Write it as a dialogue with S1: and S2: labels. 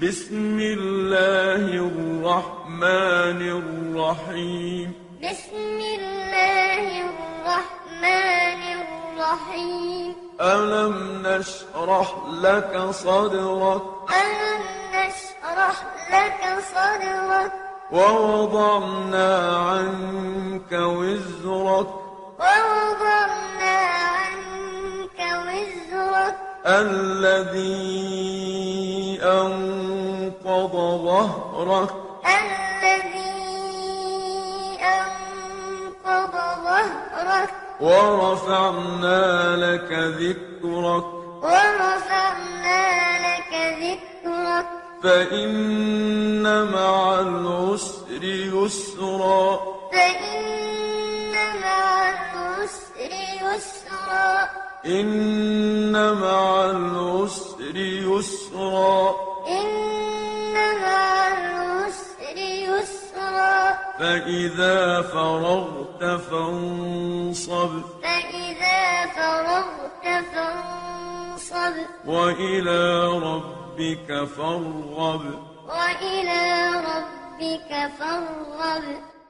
S1: بسم الله الرحمن الرحيم
S2: بسم الله الرحمن الرحيم
S1: ألم نشرح لك صدرك
S2: ألم نشرح لك صدرك
S1: ووضعنا عنك وزرك
S2: ووضعنا عنك وزرك الذي
S1: أنقض ظهرك
S2: الذي أنقض ظهرك
S1: ورفعنا لك ذكرك
S2: ورفعنا لك ذكرك
S1: فإن مع العسر يسرا
S2: فإن مع العسر يسرا
S1: إن مع العسر يسرا
S2: إن مع العسر يسرا
S1: فإذا فرغت فانصب
S2: فإذا فرغت فانصب
S1: وإلى ربك فارغب
S2: وإلى ربك فارغب